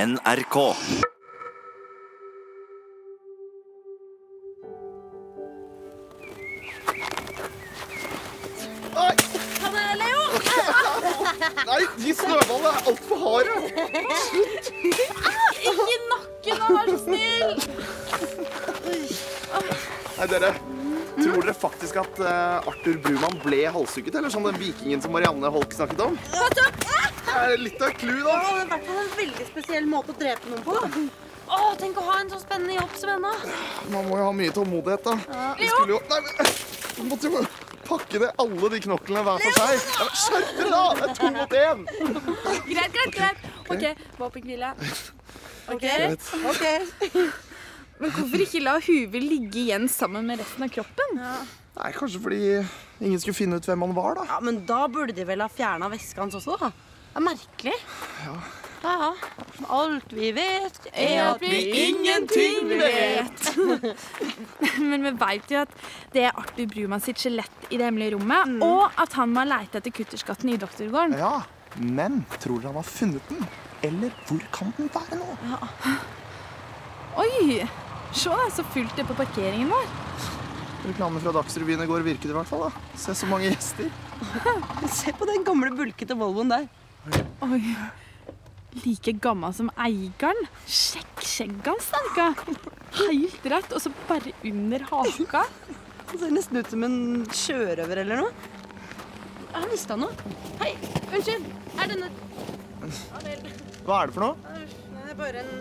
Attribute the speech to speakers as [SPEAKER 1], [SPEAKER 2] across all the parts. [SPEAKER 1] NRK.
[SPEAKER 2] Nei,
[SPEAKER 3] Ha det, Leo!
[SPEAKER 2] nei, de snøballene er altfor harde.
[SPEAKER 3] Ikke nakken, da, vær så snill!
[SPEAKER 2] Nei, dere. Tror dere faktisk at eh, Arthur Brumann ble halshugget? Eller sånn den vikingen som Marianne Holk snakket om?
[SPEAKER 3] Vet du,
[SPEAKER 2] Er det litt av et clou, da?
[SPEAKER 4] Det er i hvert fall en veldig spesiell måte å drepe noen på. da.
[SPEAKER 3] Å, tenk å ha en så spennende jobb som henne.
[SPEAKER 2] Man må jo ha mye tålmodighet, da. Vi
[SPEAKER 3] Leo!
[SPEAKER 2] skulle jo Nei, men vi måtte jo pakke ned alle de knoklene hver for seg. Nei, men Skjerp dere, da! Det er to mot én.
[SPEAKER 3] Greit, greit, greit. OK, våpenhvile. Ok.
[SPEAKER 4] Ok.
[SPEAKER 3] Men hvorfor ikke la huet ligge igjen sammen med resten av kroppen?
[SPEAKER 2] Nei, kanskje fordi ingen skulle finne ut hvem han var, da.
[SPEAKER 4] Ja, men da burde de vel ha fjerna veska hans også, da. Det er merkelig. Ja. ja. Alt vi vet, er at vi
[SPEAKER 3] ingenting vet. Men vi veit jo at det er Arthur Brumann sitt skjelett i det hemmelige rommet, og at han må ha leita etter kutterskatten i doktorgården.
[SPEAKER 2] Ja, men tror dere han har funnet den? Eller hvor kan den være nå?
[SPEAKER 3] Oi! Se, da, så fullt det på parkeringen vår.
[SPEAKER 2] Reklamen fra Dagsrevyen i går virket i hvert fall. da. Se så mange gjester.
[SPEAKER 4] Se på den gamle, bulkete Volvoen der.
[SPEAKER 3] Oi. Like gammel som eieren. Sjekk skjegget hans, da. Rikka. Helt rett, og så bare under haka.
[SPEAKER 4] Han ser nesten ut som en sjørøver eller noe. Har han mista noe?
[SPEAKER 3] Hei, unnskyld. Er denne
[SPEAKER 2] Hva er det for noe?
[SPEAKER 4] Det er bare en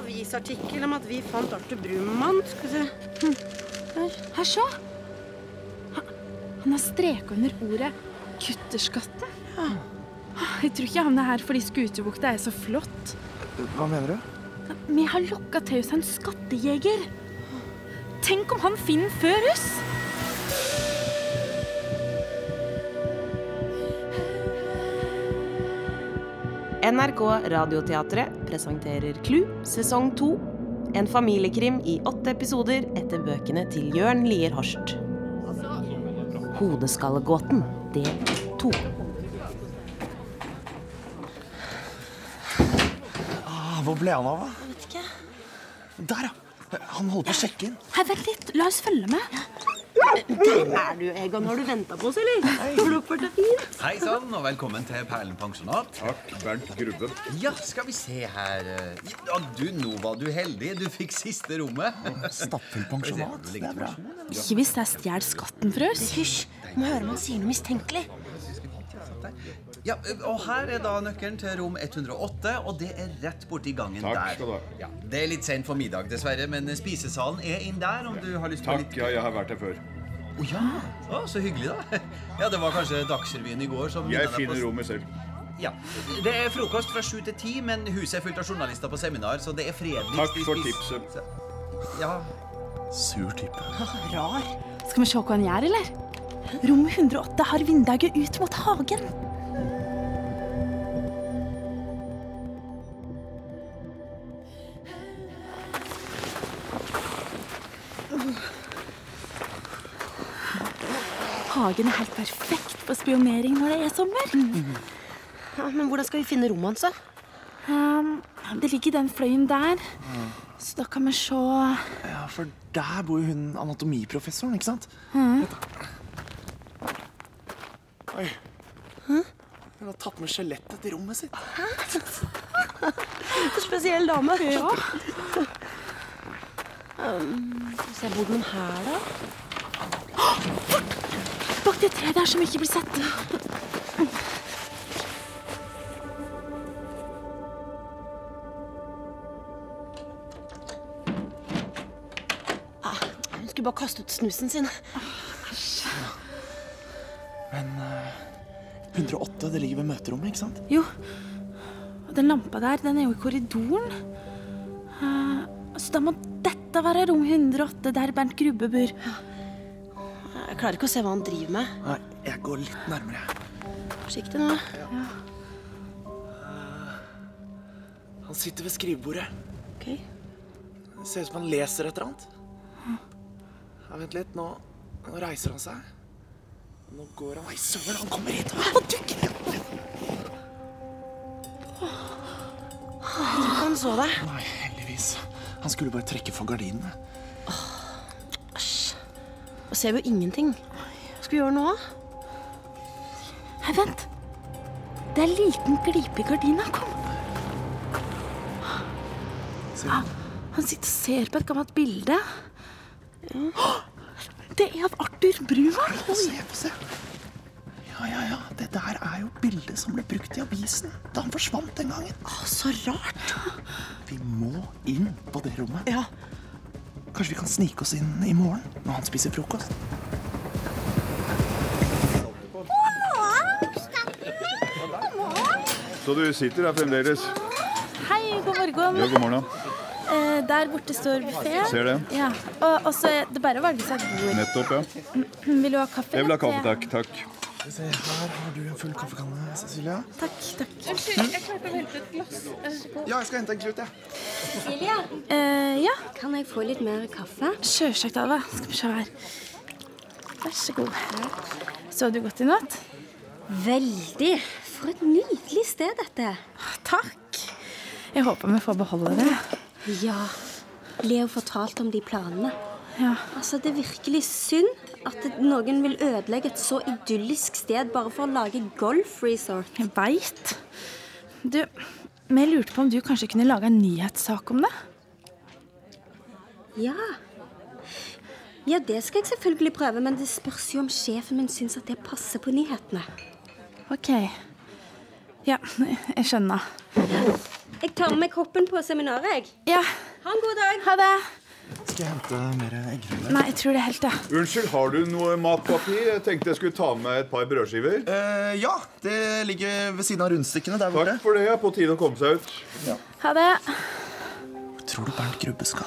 [SPEAKER 4] avisartikkel om at vi fant Arthur Brumann. Skal vi se.
[SPEAKER 3] Her, se. Han- Han har streka under ordet 'kutterskatte'. Jeg tror ikke han er her fordi Skuterbukta er så flott.
[SPEAKER 2] Hva mener du?
[SPEAKER 3] Vi har lokka til oss en skattejeger. Tenk om han finner før oss!
[SPEAKER 5] NRK Radioteatret presenterer Klu sesong 2. En familiekrim i åtte episoder etter bøkene til Jørn Lier Horst. Hodeskallegåten del 2.
[SPEAKER 2] Ah, hvor ble han av? da? Der, ja. Han holder på å sjekke inn.
[SPEAKER 3] Hei, vent litt. La oss følge med.
[SPEAKER 4] Er du Egon? Har du venta på oss, eller? Har du oppført deg fint?
[SPEAKER 6] Hei sann, og velkommen til Perlen pensjonat.
[SPEAKER 7] Takk, Bernt Grubbe.
[SPEAKER 6] Ja, skal vi se her eh, Ja, du, nå var du heldig. Du fikk siste rommet.
[SPEAKER 2] Stappfull pensjonat. Det er bra.
[SPEAKER 3] Ikke hvis jeg stjeler skatten fra oss. Hysj. Må høre om han sier noe mistenkelig.
[SPEAKER 6] Ja, og her er da nøkkelen til rom 108, og det er rett borti gangen
[SPEAKER 7] Takk
[SPEAKER 6] der.
[SPEAKER 7] skal du ha.
[SPEAKER 6] Ja, det er litt sent for middag, dessverre, men spisesalen er inn der om du har lyst på
[SPEAKER 7] Takk,
[SPEAKER 6] litt
[SPEAKER 7] ja, jeg har vært her før.
[SPEAKER 6] Å ja. Å, så hyggelig, da. Ja, det var kanskje Dagsrevyen i går som
[SPEAKER 7] Jeg
[SPEAKER 6] minnet deg på-
[SPEAKER 7] finner rommet selv.
[SPEAKER 6] Ja. Det er frokost fra sju til ti, men huset er fullt av journalister på seminar, så det er fredelig.
[SPEAKER 7] Takk for tipset.
[SPEAKER 6] Ja.
[SPEAKER 2] Sur type.
[SPEAKER 3] Skal vi se hva han gjør, eller? Rom 108 har vinduet ut mot hagen. Hagen er helt perfekt for spionering når det er sommer.
[SPEAKER 4] Ja, men hvordan skal vi finne rommet hans, da?
[SPEAKER 3] Um, det ligger i den fløyen der, så da kan vi se
[SPEAKER 2] Ja, for der bor jo hun anatomiprofessoren, ikke sant? Vent da. Oi. Hun har tatt med skjelettet til rommet sitt.
[SPEAKER 4] Spesiell dame. Ja. Se, bor den her, da?
[SPEAKER 3] bak det treet der som ikke blir sett.
[SPEAKER 4] Hun skulle bare kaste ut snusen sin.
[SPEAKER 2] 108, det ligger ved møterommet, ikke sant?
[SPEAKER 3] Jo. Og den lampa der, den er jo i korridoren. Eh, så da må dette være rom 108, der Bernt Grubbe bor.
[SPEAKER 4] Jeg klarer ikke å se hva han driver med.
[SPEAKER 2] Nei, jeg går litt nærmere. jeg.
[SPEAKER 4] Forsiktig nå.
[SPEAKER 2] Eh, Han sitter ved skrivebordet.
[SPEAKER 4] Ok.
[SPEAKER 2] Det ser ut som han leser et eller annet. Ja, vent litt, nå, nå reiser han seg. Nå går han Nei, søren, han kommer hit!
[SPEAKER 4] Han han så det.
[SPEAKER 2] Nei, heldigvis. Han skulle bare trekke for gardinene.
[SPEAKER 4] Og ser jo ingenting. Hva skal vi gjøre nå, da?
[SPEAKER 3] Nei, vent. Det er en liten glipe i gardina. Kom.
[SPEAKER 2] Ser
[SPEAKER 3] Ah, Han sitter og ser på et gammelt bilde. Åh, Det er av Arthur Brumann.
[SPEAKER 2] Få se, få se. Ja, ja, ja. Det der er jo bildet som ble brukt i avisen da han forsvant den gangen.
[SPEAKER 4] Så rart.
[SPEAKER 2] Vi må inn på det rommet.
[SPEAKER 4] Ja.
[SPEAKER 2] Kanskje vi kan snike oss inn i morgen når han spiser frokost?
[SPEAKER 7] Så du sitter der fremdeles?
[SPEAKER 3] Hei, god morgen.
[SPEAKER 7] Ja, god morgen.
[SPEAKER 3] Eh, der borte står buffeen.
[SPEAKER 7] Ser det.
[SPEAKER 3] Ja. Og og så er det bare å velge seg et bord.
[SPEAKER 7] Nettopp, ja.
[SPEAKER 3] Vil du ha kaffe?
[SPEAKER 7] Jeg vil ha
[SPEAKER 3] eller
[SPEAKER 7] kaffe,
[SPEAKER 3] te?
[SPEAKER 7] takk. Takk.
[SPEAKER 2] Se, her har du en full kaffekanne, Cecilia.
[SPEAKER 3] Takk, takk.
[SPEAKER 2] Ja, jeg skal hente en klut, jeg.
[SPEAKER 3] Eh, ja,
[SPEAKER 1] Kan jeg få litt mer kaffe?
[SPEAKER 3] sjølsagt, Ava. Skal vi se her. Vær så god. Så du godt i natt?
[SPEAKER 1] Veldig. For et nydelig sted dette.
[SPEAKER 3] Takk. Jeg håper vi får beholde det.
[SPEAKER 1] Ja. Leo fortalte om de planene.
[SPEAKER 3] Ja.
[SPEAKER 1] Altså, Det er virkelig synd at noen vil ødelegge et så idyllisk sted bare for å lage golfresort.
[SPEAKER 3] Jeg veit. Du, men jeg lurte på om du kanskje kunne lage en nyhetssak om det?
[SPEAKER 1] Ja. Ja, det skal jeg selvfølgelig prøve, men det spørs jo om sjefen min syns at det passer på nyhetene.
[SPEAKER 3] OK. Ja, jeg skjønner.
[SPEAKER 1] Jeg tar med meg koppen på seminaret, jeg.
[SPEAKER 3] Ja,
[SPEAKER 1] Ha en god dag.
[SPEAKER 3] ha det.
[SPEAKER 2] Skal jeg hente mer eggerøre?
[SPEAKER 3] Nei, jeg tror det er helt, ja.
[SPEAKER 7] Unnskyld, har du noe matpapir? Jeg tenkte jeg skulle ta med et par brødskiver.
[SPEAKER 2] Eh, ja, det ligger ved siden av rundstykkene der
[SPEAKER 7] Takk for det. ja. På tide å komme seg ut.
[SPEAKER 3] Ha det.
[SPEAKER 2] Tror du Bernt Grubbe skal?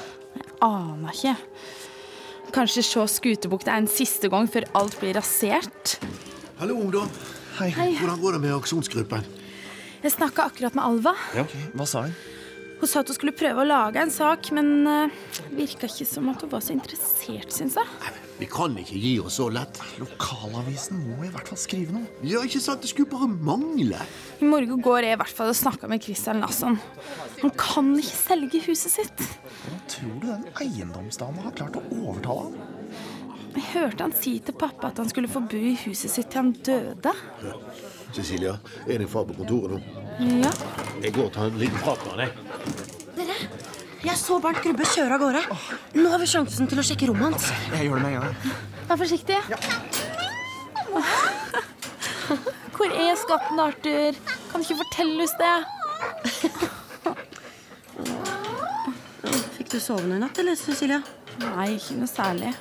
[SPEAKER 3] Aner ikke. Kanskje se Skutebukta en siste gang før alt blir rasert?
[SPEAKER 8] Hallo, ungdom.
[SPEAKER 2] Hei.
[SPEAKER 8] Hvordan går det med aksjonsgruppen?
[SPEAKER 3] Jeg snakka akkurat med Alva.
[SPEAKER 2] Ok, Hva sa hun?
[SPEAKER 3] Hun sa at hun skulle prøve å lage en sak, men uh, virka ikke som at hun var så interessert, syns jeg.
[SPEAKER 8] Vi kan ikke gi oss så lett.
[SPEAKER 2] Lokalavisen må i hvert fall skrive noe.
[SPEAKER 8] Ja, ikke sant? Det skulle bare mangle.
[SPEAKER 3] I morgen går jeg i hvert fall og snakker med Christian Lasson. Han kan ikke selge huset sitt.
[SPEAKER 2] Tror du den eiendomsdama har klart å overtale han?
[SPEAKER 3] Jeg hørte han si til pappa at han skulle få bo i huset sitt til han døde.
[SPEAKER 8] Cecilia, er din far på kontoret nå?
[SPEAKER 3] Ja.
[SPEAKER 8] Jeg går og tar en liten prat med han, jeg.
[SPEAKER 4] Jeg så Bernt Grubbe kjøre av gårde. Nå har vi sjansen til å sjekke rommet hans.
[SPEAKER 2] Jeg gjør det med en gang.
[SPEAKER 3] Vær forsiktig. Hvor er skatten, Arthur? Kan du ikke fortelle oss det?
[SPEAKER 4] Fikk du sovende i natt, eller, Cecilia?
[SPEAKER 3] Nei, ikke noe særlig.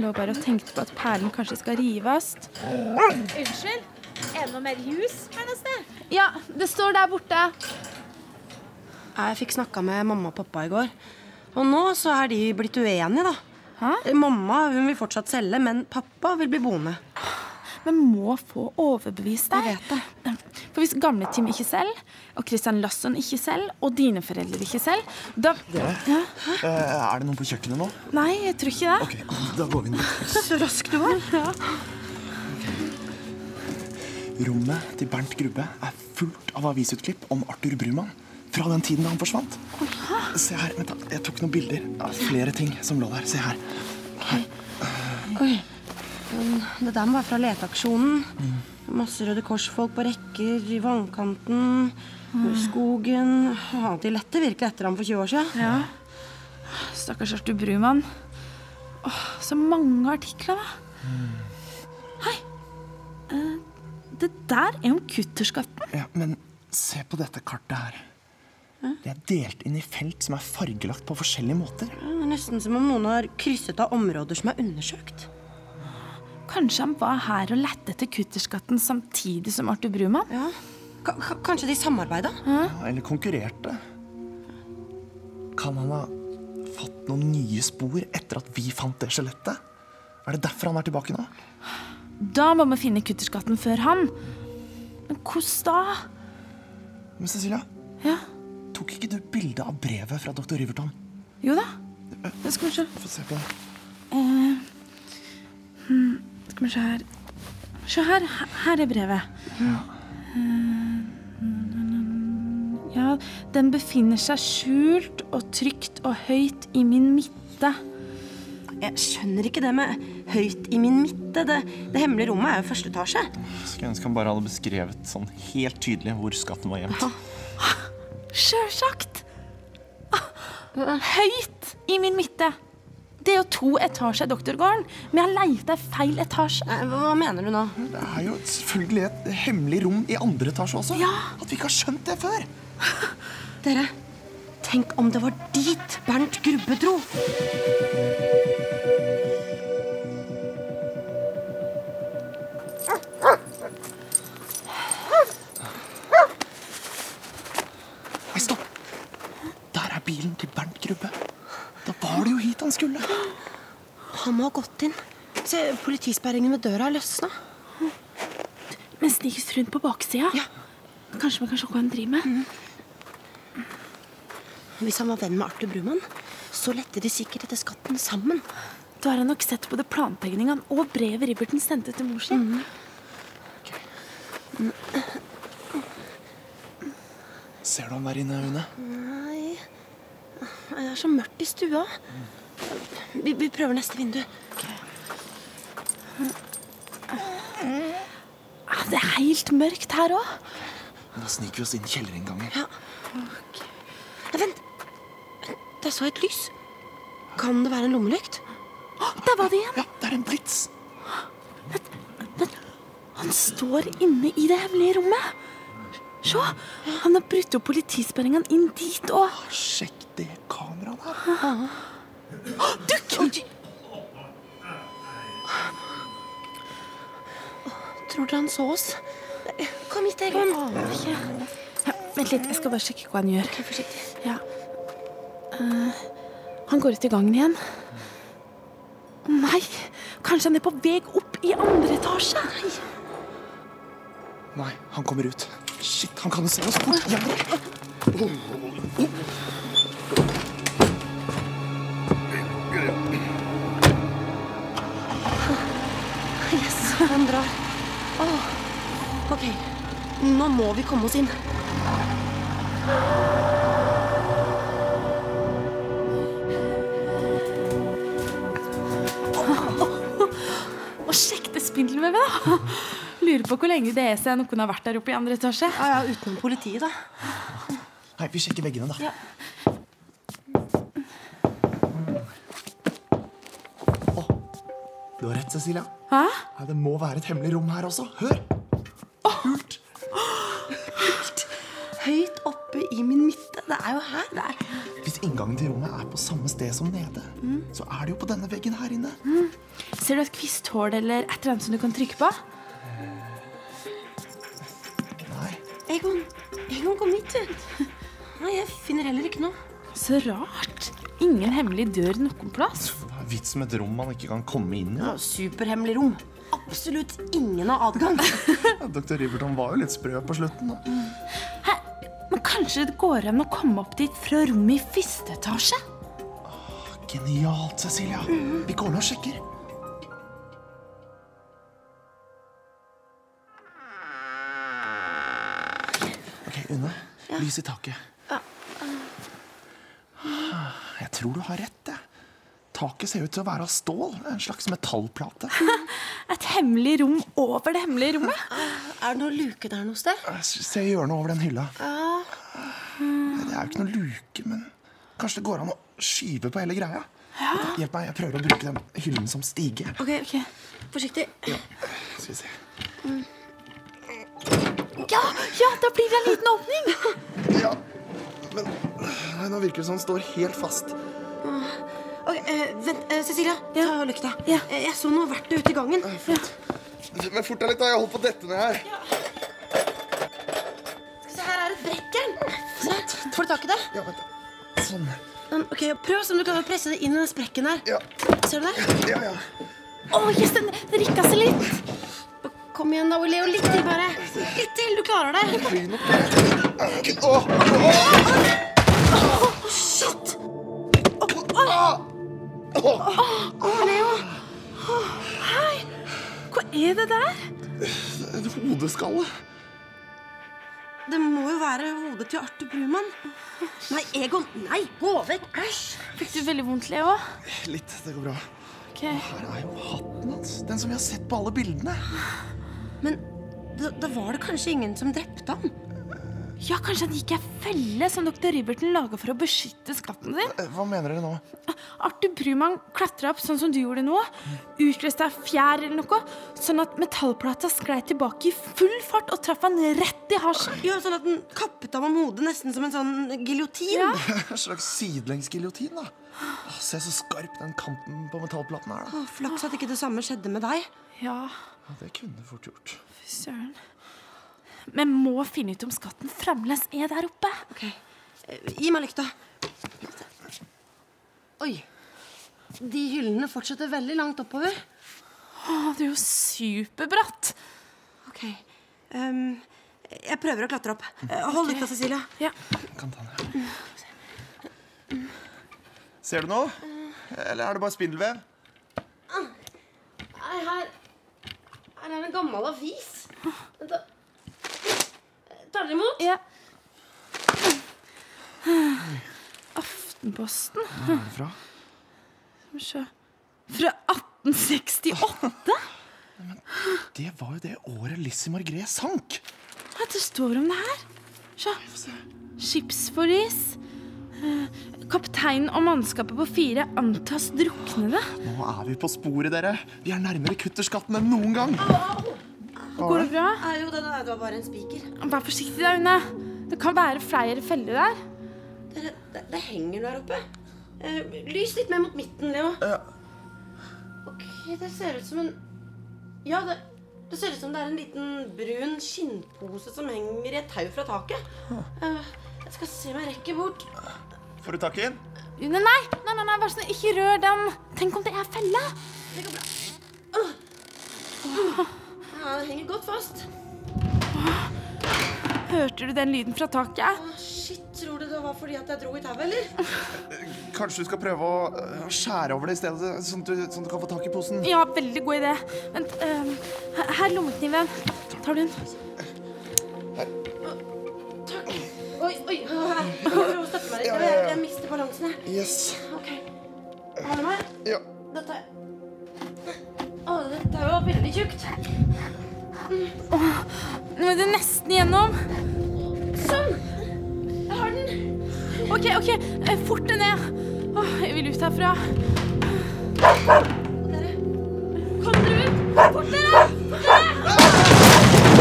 [SPEAKER 3] Lå bare og tenkte på at perlen kanskje skal rives.
[SPEAKER 9] Unnskyld, er det noe mer jus her noe sted?
[SPEAKER 3] Ja, det står der borte.
[SPEAKER 4] Jeg fikk snakka med mamma og pappa i går. Og nå så er de blitt uenige, da. Mamma hun vil fortsatt selge, men pappa vil bli boende.
[SPEAKER 3] Vi må få overbevist deg. For hvis gamle Tim ikke selv, og Christian Lasson ikke selv, og dine foreldre ikke selv, da ja.
[SPEAKER 2] er det noen på kjøkkenet nå?
[SPEAKER 3] Nei, jeg tror ikke det.
[SPEAKER 2] Ok, Da går vi ned.
[SPEAKER 4] Så rask du var.
[SPEAKER 2] Rommet til Bernt Grubbe er fullt av avisutklipp om Arthur Brumann. Fra den tiden da han forsvant. Se her, vent da. Jeg tok noen bilder av flere ting som lå der. Se her.
[SPEAKER 4] Det der må være fra leteaksjonen. Masse Røde Kors-folk på rekker i vannkanten, skogen Han de lette virkelig etter ham for 20 år siden.
[SPEAKER 3] Ja. Stakkars Arthur Brumann. Åh, så mange artikler, da. Hei! Eh, Det der er jo kutterskatten.
[SPEAKER 2] Ja, men se på dette kartet her. Det er delt inn i felt som er fargelagt på forskjellige måter.
[SPEAKER 4] Det er nesten som om noen har krysset av områder som er undersøkt.
[SPEAKER 3] Kanskje han var her og lette etter kutterskatten samtidig som Arthur Brumann?
[SPEAKER 4] Ja. Ka- ka- Kanskje de samarbeida?
[SPEAKER 2] Ja, eller konkurrerte. Kan han ha fått noen nye spor etter at vi fant det skjelettet? Er det derfor han er tilbake nå?
[SPEAKER 3] Da må vi finne kutterskatten før han. Men hvordan da?
[SPEAKER 2] Men Cecilia,
[SPEAKER 3] Ja.
[SPEAKER 2] tok ikke du bilde av brevet fra doktor Riverton?
[SPEAKER 3] Jo da. Skal vi se.
[SPEAKER 2] Få se på det.
[SPEAKER 3] Eh, hmm, Skal vi se her. Se her. Her er brevet. Eh, Ja, Den befinner seg skjult og trygt og høyt i min midte.
[SPEAKER 4] Jeg skjønner ikke det med høyt i min midte. Det, det hemmelige rommet er jo første etasje.
[SPEAKER 2] Skulle ønske han bare hadde beskrevet sånn helt tydelig hvor skatten var gjemt.
[SPEAKER 3] Sjølsagt! Ah, Høyt i min midte. Det er jo to etasjer i doktorgården, men jeg leita i feil etasje.
[SPEAKER 4] Nei, Hva mener du nå?
[SPEAKER 2] Det er jo selvfølgelig et hemmelig rom i andre etasje også.
[SPEAKER 3] Ja.
[SPEAKER 2] At vi ikke har skjønt det før!
[SPEAKER 4] Dere, tenk om det var dit Bernt Grubbe dro!
[SPEAKER 2] Nei, stopp! Der er bilen til Bernt Grubbe. Da var det jo hit han skulle.
[SPEAKER 4] Han må ha gått inn. Se, politisperringen ved døra har løsna.
[SPEAKER 3] Men sniker rundt på baksida.
[SPEAKER 4] Ja.
[SPEAKER 3] Kanskje vi kan se hva han driver med.
[SPEAKER 4] Hvis han var venn med Arthur Brumann, så lette de sikkert etter skatten sammen.
[SPEAKER 3] Da har han nok sett både plantegningene og brevet Ribberten sendte til mor si.
[SPEAKER 2] Ser du han der inne, Une?
[SPEAKER 4] Nei, det er så mørkt i stua. Vi, vi prøver neste vindu.
[SPEAKER 3] Ah, Det er helt mørkt her òg.
[SPEAKER 2] Da sniker vi oss inn kjellerinngangen.
[SPEAKER 4] Nei, vent! Der så jeg et lys. Kan det være en lommelykt?
[SPEAKER 3] Der var det igjen!
[SPEAKER 2] Ja, det er en blits!
[SPEAKER 3] Han står inne i det hemmelige rommet. Se, han har brutt opp politisperringene inn dit òg.
[SPEAKER 2] Sjekk det kameraet der.
[SPEAKER 3] Dukk!
[SPEAKER 4] Tror dere han så oss? Nei, Kom hit, Egon.
[SPEAKER 3] Ja, vent litt, jeg skal bare sjekke hva han gjør. Ja. Eh, han går ut i gangen igjen. Å nei! Kanskje han er på vei opp i andre etasje?
[SPEAKER 2] Nei, han kommer ut. Shit, han kan jo se oss fort. Ja.
[SPEAKER 4] Yes, han drar. Åh, Ok, nå må vi komme oss inn.
[SPEAKER 3] Og sjekk det spindelvevet, da! Lurer på hvor lenge det er siden noen har vært der oppe i andre etasje.
[SPEAKER 4] Ja, ja, Utenom politiet, da.
[SPEAKER 2] Nei, vi sjekker veggene, da. Å, du har rett, Cecilia.
[SPEAKER 3] Hæ?
[SPEAKER 2] Nei, det må være et hemmelig rom her også. Hør! Hult!
[SPEAKER 4] Høyt oppe i min midte. Det er jo her. Det er.
[SPEAKER 2] Hvis inngangen til rommet er på samme sted som nede, så er det jo på denne veggen her inne.
[SPEAKER 3] Ser du et kvisthull eller et eller annet som du kan trykke på?
[SPEAKER 2] Nei,
[SPEAKER 4] Egon, Egon, kom hit, du. Nei, jeg finner heller ikke noe.
[SPEAKER 3] Så rart. Ingen hemmelig dør noen plass.
[SPEAKER 2] det er vits med et rom man ikke kan komme inn i.
[SPEAKER 4] Ja, Superhemmelig rom. Absolutt ingen har adgang.
[SPEAKER 2] Ja, Dr. Riverton var jo litt sprø på slutten. Da.
[SPEAKER 3] Hæ? Men kanskje det går an å komme opp dit fra rommet i første etasje?
[SPEAKER 2] Genialt, Cecilia. Vi går nå og sjekker. Ok, Une. Lys i taket. Ah, Jeg tror du har rett, jeg. Taket ser ut til å være av stål. En slags metallplate.
[SPEAKER 3] Et hemmelig rom over det hemmelige rommet?
[SPEAKER 4] Er det noe luke der noe sted?
[SPEAKER 2] Se i hjørnet over den hylla. Nei, Det er jo ikke noe luke, men kanskje det går an å skyve på hele greia? Hjelp meg, jeg prøver å bruke den hyllen som stige.
[SPEAKER 4] Ok, ok. Forsiktig.
[SPEAKER 2] Skal vi se.
[SPEAKER 3] Ja, ja, da blir det en liten åpning.
[SPEAKER 2] Ja, men nei, nå virker det som han står helt fast.
[SPEAKER 4] Ok, eh, Vent, eh, Cecilia. Ta lykta. Eh, Jeg så noe verktøy ute i gangen.
[SPEAKER 2] Men fort deg litt, da. Jeg holder på å dette ned her.
[SPEAKER 4] Se, her er et brekkjern. Se, Får du tak i det?
[SPEAKER 2] Ja, vent. da. Sånn.
[SPEAKER 4] Um, Ok, Prøv som du kan presse det inn i den sprekken der.
[SPEAKER 2] Ja.
[SPEAKER 4] Ser du det?
[SPEAKER 2] Ja, ja.
[SPEAKER 3] Å, yes, den den rikka seg litt.
[SPEAKER 4] Kom igjen, da, Ole. Og litt til, bare. Litt til. Du klarer det.
[SPEAKER 2] Åh,
[SPEAKER 4] Shit!
[SPEAKER 3] Hva er det der?
[SPEAKER 2] en hodeskalle.
[SPEAKER 4] det må jo være hodet til Arthur Brumann. Nei, Egon. Nei, gå vekk. Æsj.
[SPEAKER 3] Fikk du veldig vondt, Leo?
[SPEAKER 2] Litt. Det går bra.
[SPEAKER 3] Ok.
[SPEAKER 2] Her er jo hatten hans. Den som vi har sett på alle bildene.
[SPEAKER 4] Men da, da var det kanskje ingen som drepte ham?
[SPEAKER 3] Ja, kanskje han gikk i ei felle som dr. Riberton laga for å beskytte skatten din?
[SPEAKER 2] Eh, Hva mener dere nå?
[SPEAKER 3] Arthur Brumann klatra opp sånn som du gjorde nå, utløste ei fjær eller noe, sånn at metallplata sklei tilbake i full fart og traff han rett i hasjen.
[SPEAKER 4] Ja, sånn at den kappet ham om hodet nesten som en sånn giljotin.
[SPEAKER 3] Ja.
[SPEAKER 2] En slags sidelengs-giljotin, da. Å, Se så skarp den kanten på metallplaten er, da.
[SPEAKER 4] Å, Flaks at ikke det samme skjedde med deg.
[SPEAKER 3] Ja,
[SPEAKER 2] Ja, det kunne fort gjort.
[SPEAKER 3] fy søren. Men må finne ut om skatten fremdeles er der oppe.
[SPEAKER 4] Ok, eh, Gi meg lykta. Oi. De hyllene fortsetter veldig langt oppover.
[SPEAKER 3] Å, det er jo superbratt.
[SPEAKER 4] Ok. ehm, jeg prøver å klatre opp. Eh, Hold lykta, Cecilia.
[SPEAKER 3] Ja.
[SPEAKER 2] Kan ta den her. Ser du noe? Eller er det bare spindelvev?
[SPEAKER 4] Nei, her Her er en gammel avis. Vent, da. Tar dere imot?
[SPEAKER 3] ja. Aftenposten.
[SPEAKER 2] Hvor er det fra?
[SPEAKER 3] Skal vi se. Fra 1868?
[SPEAKER 2] Det var jo det året Lizzie Margret sank.
[SPEAKER 3] Hva det står om det her? Se. Skipsforlis. Eh, Kapteinen og mannskapet på fire antas druknede.
[SPEAKER 2] Nå er vi på sporet, dere. Vi er nærmere kutterskatten enn noen gang.
[SPEAKER 3] Går det bra?
[SPEAKER 4] Nei, jo, det, det var bare en spiker.
[SPEAKER 3] Vær forsiktig der, Une. Det kan være flere feller der.
[SPEAKER 4] Dere, det, det henger der oppe. Eh, lys litt mer mot midten, Leo. Ok, det ser ut som en Ja, det, det ser ut som det er en liten brun skinnpose som henger i et tau fra taket. Eh, jeg skal se om jeg rekker bort.
[SPEAKER 2] Får du tak i den?
[SPEAKER 3] Une, nei! Nei, nei, nei, vær snill, ikke rør den. Tenk om det er felle?
[SPEAKER 4] Ja, det henger godt fast.
[SPEAKER 3] Hørte du den lyden fra taket?
[SPEAKER 4] Å, shit, tror du det var fordi at jeg dro i tauet, eller?
[SPEAKER 2] Kanskje du skal prøve å øh, skjære over det i stedet, sånn at du, sånn at du kan få tak i posen?
[SPEAKER 3] Ja, veldig god idé. Vent, eh, her- her er lommekniven. Tar du den?
[SPEAKER 4] Takk. Oi, oi, å, her. Jeg prøver å støtte meg litt. Jeg, jeg mister balansen, jeg.
[SPEAKER 2] Yes.
[SPEAKER 4] Ok. Har du meg?
[SPEAKER 2] Ja.
[SPEAKER 4] Dette Å, dette er jo veldig tjukt.
[SPEAKER 3] Nå er det nesten igjennom.
[SPEAKER 4] Sånn! Jeg har den.
[SPEAKER 3] Ok, ok, eh, fort deg ned. Åh, jeg vil ut herfra.
[SPEAKER 4] Dere,
[SPEAKER 3] Kom dere ut! Fort dere! Fort dere!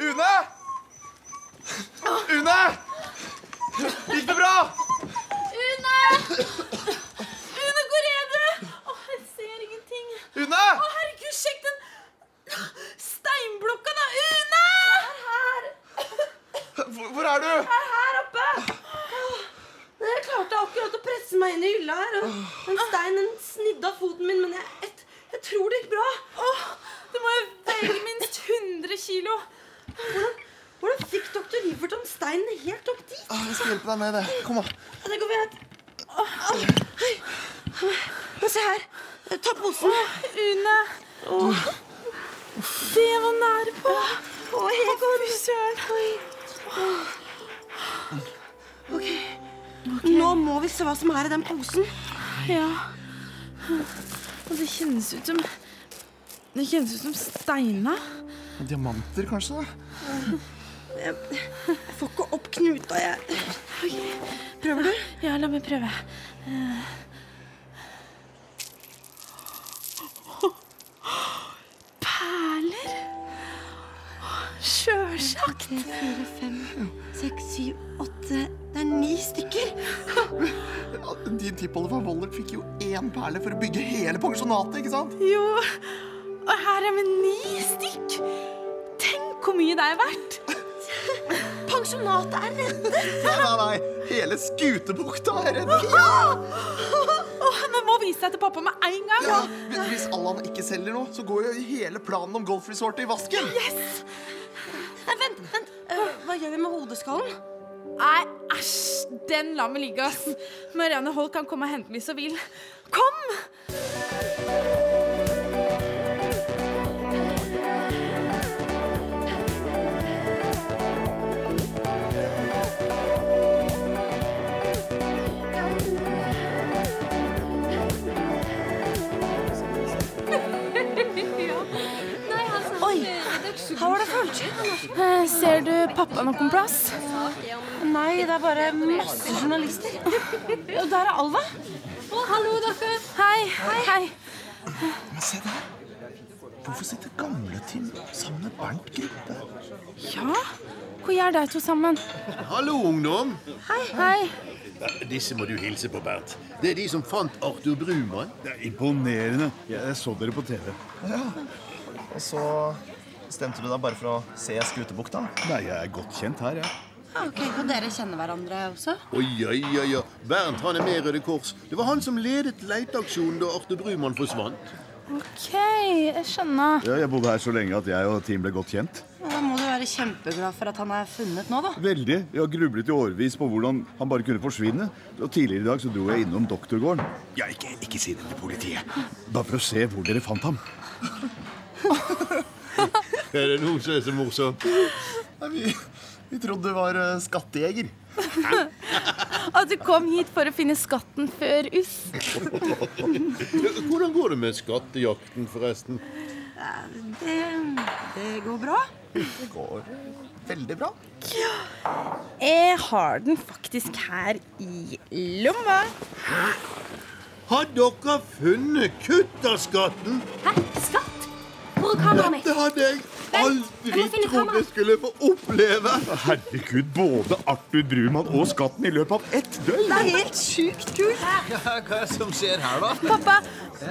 [SPEAKER 2] Une! Une! Gikk det bra?
[SPEAKER 3] Une! Une, hvor er du? Åh, jeg ser ingenting.
[SPEAKER 2] Une!
[SPEAKER 3] Å, herregud, sjekk den steinblokka da. Une! Her,
[SPEAKER 2] Hvor, hvor er du?
[SPEAKER 4] her oppe! Jeg klarte akkurat å presse meg inn i hylla her. Og en stein den snidde av foten min, men jeg, jeg, jeg tror det gikk bra.
[SPEAKER 3] Åh, du må jo veie minst 100 kilo.
[SPEAKER 4] Hvordan fikk doktor Riverton steinen helt opp dit?
[SPEAKER 2] Jeg skal hjelpe deg med det. Kom, da.
[SPEAKER 4] Ja, Det går greit. Åh, hei. Men se her. Eh, Ta posen.
[SPEAKER 3] Une. Det var nære på. Å, Egon. Fy søren.
[SPEAKER 4] Nå må vi se hva som er i den posen.
[SPEAKER 3] Ja. Og det kjennes ut som Det kjennes ut som steiner.
[SPEAKER 2] Diamanter, kanskje? da?
[SPEAKER 4] Jeg får ikke opp knuta, jeg. Prøver du?
[SPEAKER 3] Ja, la meg prøve. Eh. Perler? Sjølsagt.
[SPEAKER 4] Fire, fem, seks, syv, åtte Det er ni stykker.
[SPEAKER 2] Ja, Din tippoldefar Wollert fikk jo én perle for å bygge hele pensjonatet, ikke sant?
[SPEAKER 3] Jo. Og her er vi ni stykk. Tenk hvor mye det er verdt.
[SPEAKER 4] Pensjonatet er reddet.
[SPEAKER 2] Nei, nei, nei. Hele Skutebukta er reddet.
[SPEAKER 3] Åh, det må vise deg til pappa med en gang.
[SPEAKER 2] Ja, hvis- Hvis Allan ikke selger noe, så går jo hele planen om golfresortet i vasken.
[SPEAKER 4] Vent, vent. Eh, Hva gjør vi med hodeskallen?
[SPEAKER 3] Nei, æsj. Den lar vi ligge, ass. Marianne Holt kan komme og hente meg hvis hun vil. Kom!
[SPEAKER 1] Oi, hva var det fullt?
[SPEAKER 3] Eh, Ser du pappa noen plass?
[SPEAKER 4] Nei, det er bare masse journalister.
[SPEAKER 3] Og der er Alva.
[SPEAKER 9] Å, hallo, dere.
[SPEAKER 3] Hei. Hei.
[SPEAKER 2] Men se der. Hvorfor sitter gamle Tim sammen med Bernt Grubbe?
[SPEAKER 3] Ja, hvor gjør de to sammen?
[SPEAKER 8] Hallo, ungdom.
[SPEAKER 3] Hei.
[SPEAKER 8] Disse må du hilse på, Bernt. Det er de som fant Arthur Brumann.
[SPEAKER 10] Det er imponerende. Jeg så dere på TV.
[SPEAKER 2] Og så stemte du deg bare for å se Skutebukta?
[SPEAKER 10] Nei, jeg er godt kjent her, jeg.
[SPEAKER 4] Ok, Og dere kjenner hverandre også?
[SPEAKER 8] Oi, oi, oi, oi. Bernt han er med i Røde Kors. Det var han som ledet leteaksjonen da Arthur Brumann forsvant.
[SPEAKER 3] OK, jeg skjønner.
[SPEAKER 10] Ja, jeg bodde her så lenge at jeg og Team ble godt kjent.
[SPEAKER 4] Da må du være kjempeglad for at han er funnet nå, da.
[SPEAKER 10] Veldig. Jeg har grublet i årevis på hvordan han bare kunne forsvinne. Og tidligere i dag så dro jeg innom doktorgården. Ja, ikke, ikke si det til politiet. Bare for å se hvor dere fant ham.
[SPEAKER 8] Er det noen som er så morsom?
[SPEAKER 2] Nei, vi, vi trodde du var eh, skattejeger.
[SPEAKER 3] At du kom hit for å finne skatten før uss.
[SPEAKER 8] Hvordan går det med skattejakten, forresten?
[SPEAKER 4] Det går bra.
[SPEAKER 2] Det går veldig bra.
[SPEAKER 9] Jeg har den faktisk her i lomma.
[SPEAKER 8] Har dere funnet kutterskatten?
[SPEAKER 1] Hæ, skatt? Hvor er kameraene?
[SPEAKER 8] Dette hadde jeg aldri
[SPEAKER 1] jeg må finne
[SPEAKER 8] trodd jeg
[SPEAKER 1] kameraet.
[SPEAKER 8] skulle få oppleve.
[SPEAKER 10] Herregud, både Arthur Brumann og skatten i løpet av ett døgn!
[SPEAKER 4] Helt sjukt kult.
[SPEAKER 6] Hva er det som skjer her, da?
[SPEAKER 3] Pappa,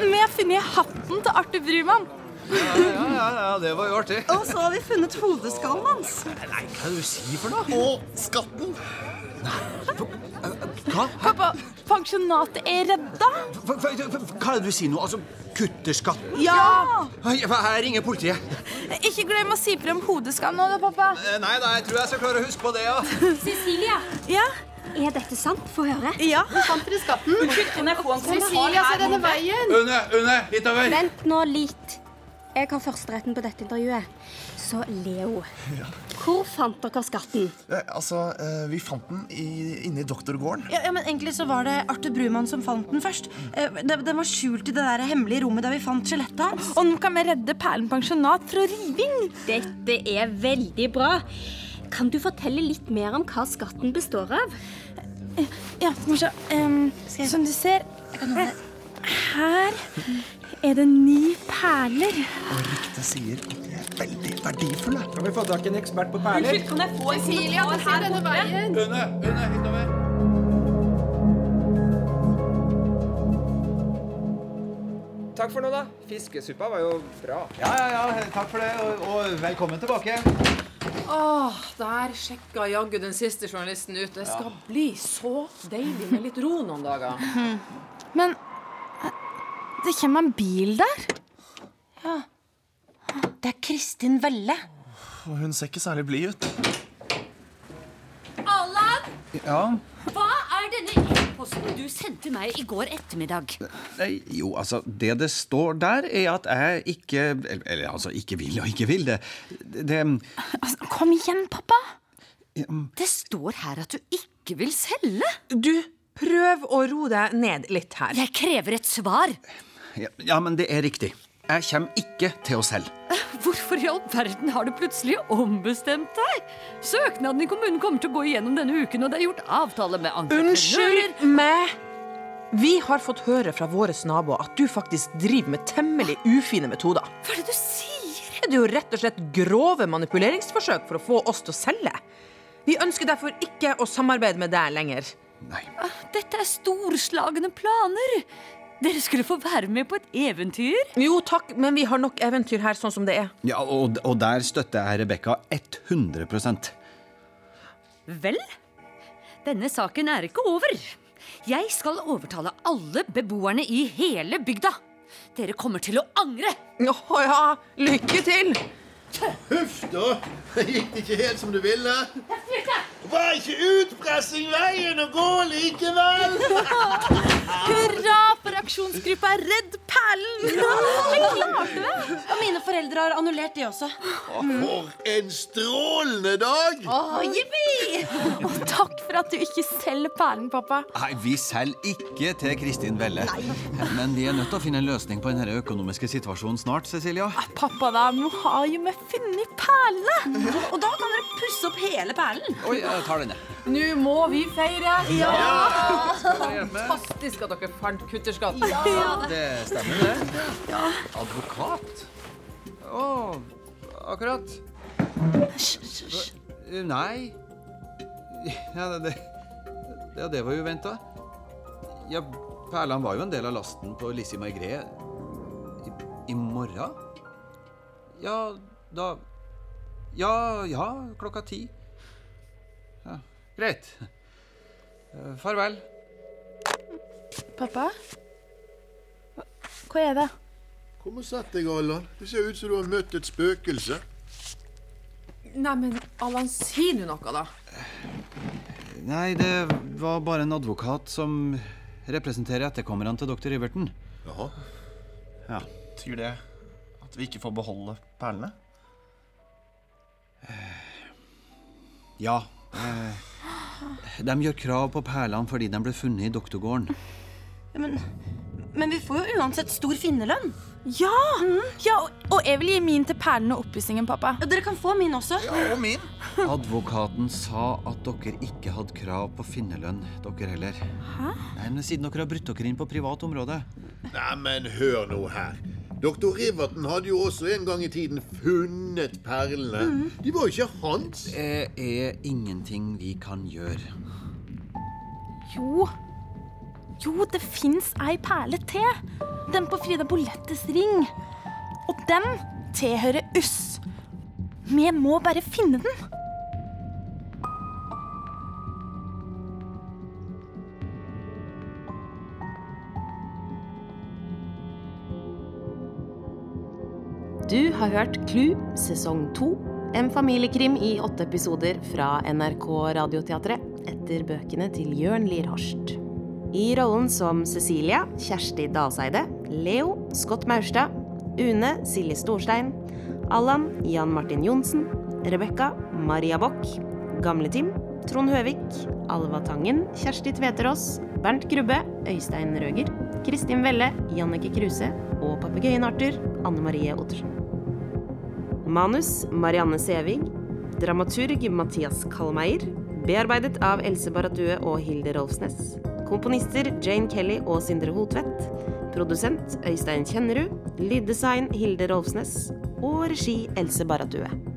[SPEAKER 3] vi har funnet hatten til Arthur Brumann.
[SPEAKER 6] Ja, ja, ja, det var jo artig.
[SPEAKER 4] Og så har vi funnet hodeskallen hans.
[SPEAKER 6] Nei, hva er det du sier for noe?
[SPEAKER 2] Og skatten!
[SPEAKER 3] Pappa, pensjonatet er redda.
[SPEAKER 6] Hva, hva, hva er det du sier nå? Altså, kutterskatten?
[SPEAKER 3] Ja!
[SPEAKER 6] Oi, Her ringer politiet.
[SPEAKER 3] Ikke glem å si fra om hodeskall nå, da, pappa.
[SPEAKER 6] Eh, Nei, nei, jeg tror jeg skal klare å huske på det, ja.
[SPEAKER 9] Cecilia.
[SPEAKER 3] Ja.
[SPEAKER 1] Er dette sant? Få høre.
[SPEAKER 3] Ja.
[SPEAKER 9] Cecilia, se denne veien.
[SPEAKER 6] Une, Une, hitover.
[SPEAKER 1] Vent nå litt. Jeg har førsteretten på dette intervjuet. Så Leo, hvor fant dere skatten?
[SPEAKER 2] Eh, altså, eh, vi fant den i, inne i doktorgården.
[SPEAKER 4] Ja, ja, men Egentlig så var det Arthur Brumann som fant den først. Eh, Den den var skjult i det der hemmelige rommet der vi fant skjelettet hans.
[SPEAKER 3] Og nå kan vi redde Perlen pensjonat fra riving.
[SPEAKER 1] Dette er veldig bra. Kan du fortelle litt mer om hva skatten består av?
[SPEAKER 3] Ja, skal vi se. Ehm, som du ser Her er det ni perler.
[SPEAKER 2] Det sier at de er veldig verdifulle.
[SPEAKER 9] Cecilia, se denne veien.
[SPEAKER 6] Une, Une, hitover.
[SPEAKER 11] Takk for nå, da. Fiskesuppa var jo bra.
[SPEAKER 6] Ja, ja, ja, takk for det, og, og velkommen tilbake.
[SPEAKER 12] Åh, der sjekka jaggu den siste journalisten ut. Det skal bli så deilig med litt ro noen dager.
[SPEAKER 3] Men eh, det kommer en bil der.
[SPEAKER 4] Det er Kristin Velle.
[SPEAKER 2] Og hun ser ikke særlig blid ut.
[SPEAKER 9] Allan,
[SPEAKER 6] Ja,
[SPEAKER 9] hva er denne e-posten du sendte meg i går ettermiddag?
[SPEAKER 6] Nei, jo, altså, det det står der, er at jeg ikke Eller, eller, altså, ikke vil og ikke vil. Det, det
[SPEAKER 3] Altså, kom igjen, pappa.
[SPEAKER 9] Det står her at du ikke vil selge.
[SPEAKER 12] Du, prøv å ro deg ned litt her.
[SPEAKER 9] Jeg krever et svar.
[SPEAKER 6] ja, Ja, men det er riktig. Jeg kommer ikke til å selge.
[SPEAKER 9] Hvorfor i all verden har du plutselig ombestemt deg? Søknaden i kommunen kommer til å gå igjennom denne uken, og det er gjort avtale med entreprenører.
[SPEAKER 12] Unnskyld meg! Vi har fått høre fra våre naboer at du faktisk driver med temmelig ufine metoder.
[SPEAKER 9] Hva er det du sier?
[SPEAKER 12] Det er jo rett og slett grove manipuleringsforsøk for å få oss til å selge. Vi ønsker derfor ikke å samarbeide med deg lenger.
[SPEAKER 6] Nei.
[SPEAKER 9] Dette er storslagne planer. Dere skulle få være med på et eventyr.
[SPEAKER 12] Jo takk, men vi har nok eventyr her sånn som det er.
[SPEAKER 6] Ja, og, og der støtter jeg Rebekka 100
[SPEAKER 9] Vel, denne saken er ikke over. Jeg skal overtale alle beboerne i hele bygda. Dere kommer til å angre.
[SPEAKER 12] Å ja, lykke til!
[SPEAKER 8] Huff, da! Gikk det ikke helt som du ville?
[SPEAKER 13] Var ikke utpressing veien å gå likevel?
[SPEAKER 3] Hurra for aksjonsgruppa Redd Perlen!
[SPEAKER 13] Ja!
[SPEAKER 3] Jeg klarte det!
[SPEAKER 4] Og mine foreldre har annullert de også.
[SPEAKER 13] For en strålende dag!
[SPEAKER 4] Åh,
[SPEAKER 3] jippi! Og takk for at du ikke selger perlen, pappa.
[SPEAKER 6] Nei, vi selger ikke til Kristin Velle. Men vi er nødt til å finne en løsning på denne økonomiske situasjonen snart, Cecilia.
[SPEAKER 3] Ah, Pappa, da, nå har jo vi funnet perlene.
[SPEAKER 4] Og da kan dere pusse opp hele perlen.
[SPEAKER 6] Oi, jeg tar denne.
[SPEAKER 12] Nå må vi feire!
[SPEAKER 4] Ja!
[SPEAKER 12] Fantastisk at dere fant kutterskatten.
[SPEAKER 6] Det stemmer, det. Advokat? Å, akkurat. Eh, Nei Ja, det, det, ja, det var jo venta. Ja, Perlan var jo en del av lasten på Lissi Maigret i, i morgen. Ja, da Ja, ja, klokka ti. Ja, greit. Eh, Farvel.
[SPEAKER 3] Pappa? Hva er det?
[SPEAKER 8] Kom og sett deg, Allan. Det ser ut som du har møtt et spøkelse.
[SPEAKER 12] Nei, men Allan, si nå noe, da.
[SPEAKER 6] Nei, det var bare en advokat som representerer etterkommerne til dr. Iverten.
[SPEAKER 8] Jaha.
[SPEAKER 6] Ja.
[SPEAKER 2] Betyr det at vi ikke får beholde perlene?
[SPEAKER 6] Ja. eh, De gjør krav på perlene fordi de ble funnet i doktorgården.
[SPEAKER 4] Men, men vi får jo uansett stor finnerlønn.
[SPEAKER 3] Ja! ja og, og jeg vil gi min til perlen og oppussingen, pappa.
[SPEAKER 4] Ja, dere kan få min også.
[SPEAKER 3] Ja, og min.
[SPEAKER 6] Advokaten sa at dere ikke hadde krav på finnerlønn, dere heller.
[SPEAKER 8] Hæ?
[SPEAKER 6] Nei, men Siden dere har brutt dere inn på privat område.
[SPEAKER 8] Nei, men hør nå her. Doktor Riverton hadde jo også en gang i tiden funnet perlene.
[SPEAKER 1] Mm.
[SPEAKER 8] De var jo ikke hans.
[SPEAKER 6] Det er ingenting vi kan gjøre.
[SPEAKER 3] Jo. Jo, det fins ei perle til. Den på Frida Bolettes ring. Og den tilhører Uss. Vi må bare finne den.
[SPEAKER 5] Du har hørt Klu sesong to, en familiekrim i åtte episoder fra NRK Radioteatret etter bøkene til Jørn Lier Horst. I rollen som Cecilia, Kjersti Dalseide, Leo, Scott Maurstad, Une, Silje Storstein, Allan, Jan Martin Johnsen, Rebekka, Maria Bock, Gamle-Tim, Trond Høvik, Alva Tangen, Kjersti Tveterås, Bernt Grubbe, Øystein Røger, Kristin Velle, Jannike Kruse og papegøyen Arthur, Anne Marie Ottersen. Manus Marianne Sævig. Dramaturg Mathias Kalmeier. Bearbeidet av Else Baratue og Hilde Rolfsnes. Komponister Jane Kelly og Sindre Hotvedt. Produsent Øystein Kjennerud. Lyddesign Hilde Rolfsnes. Og regi Else Baratue.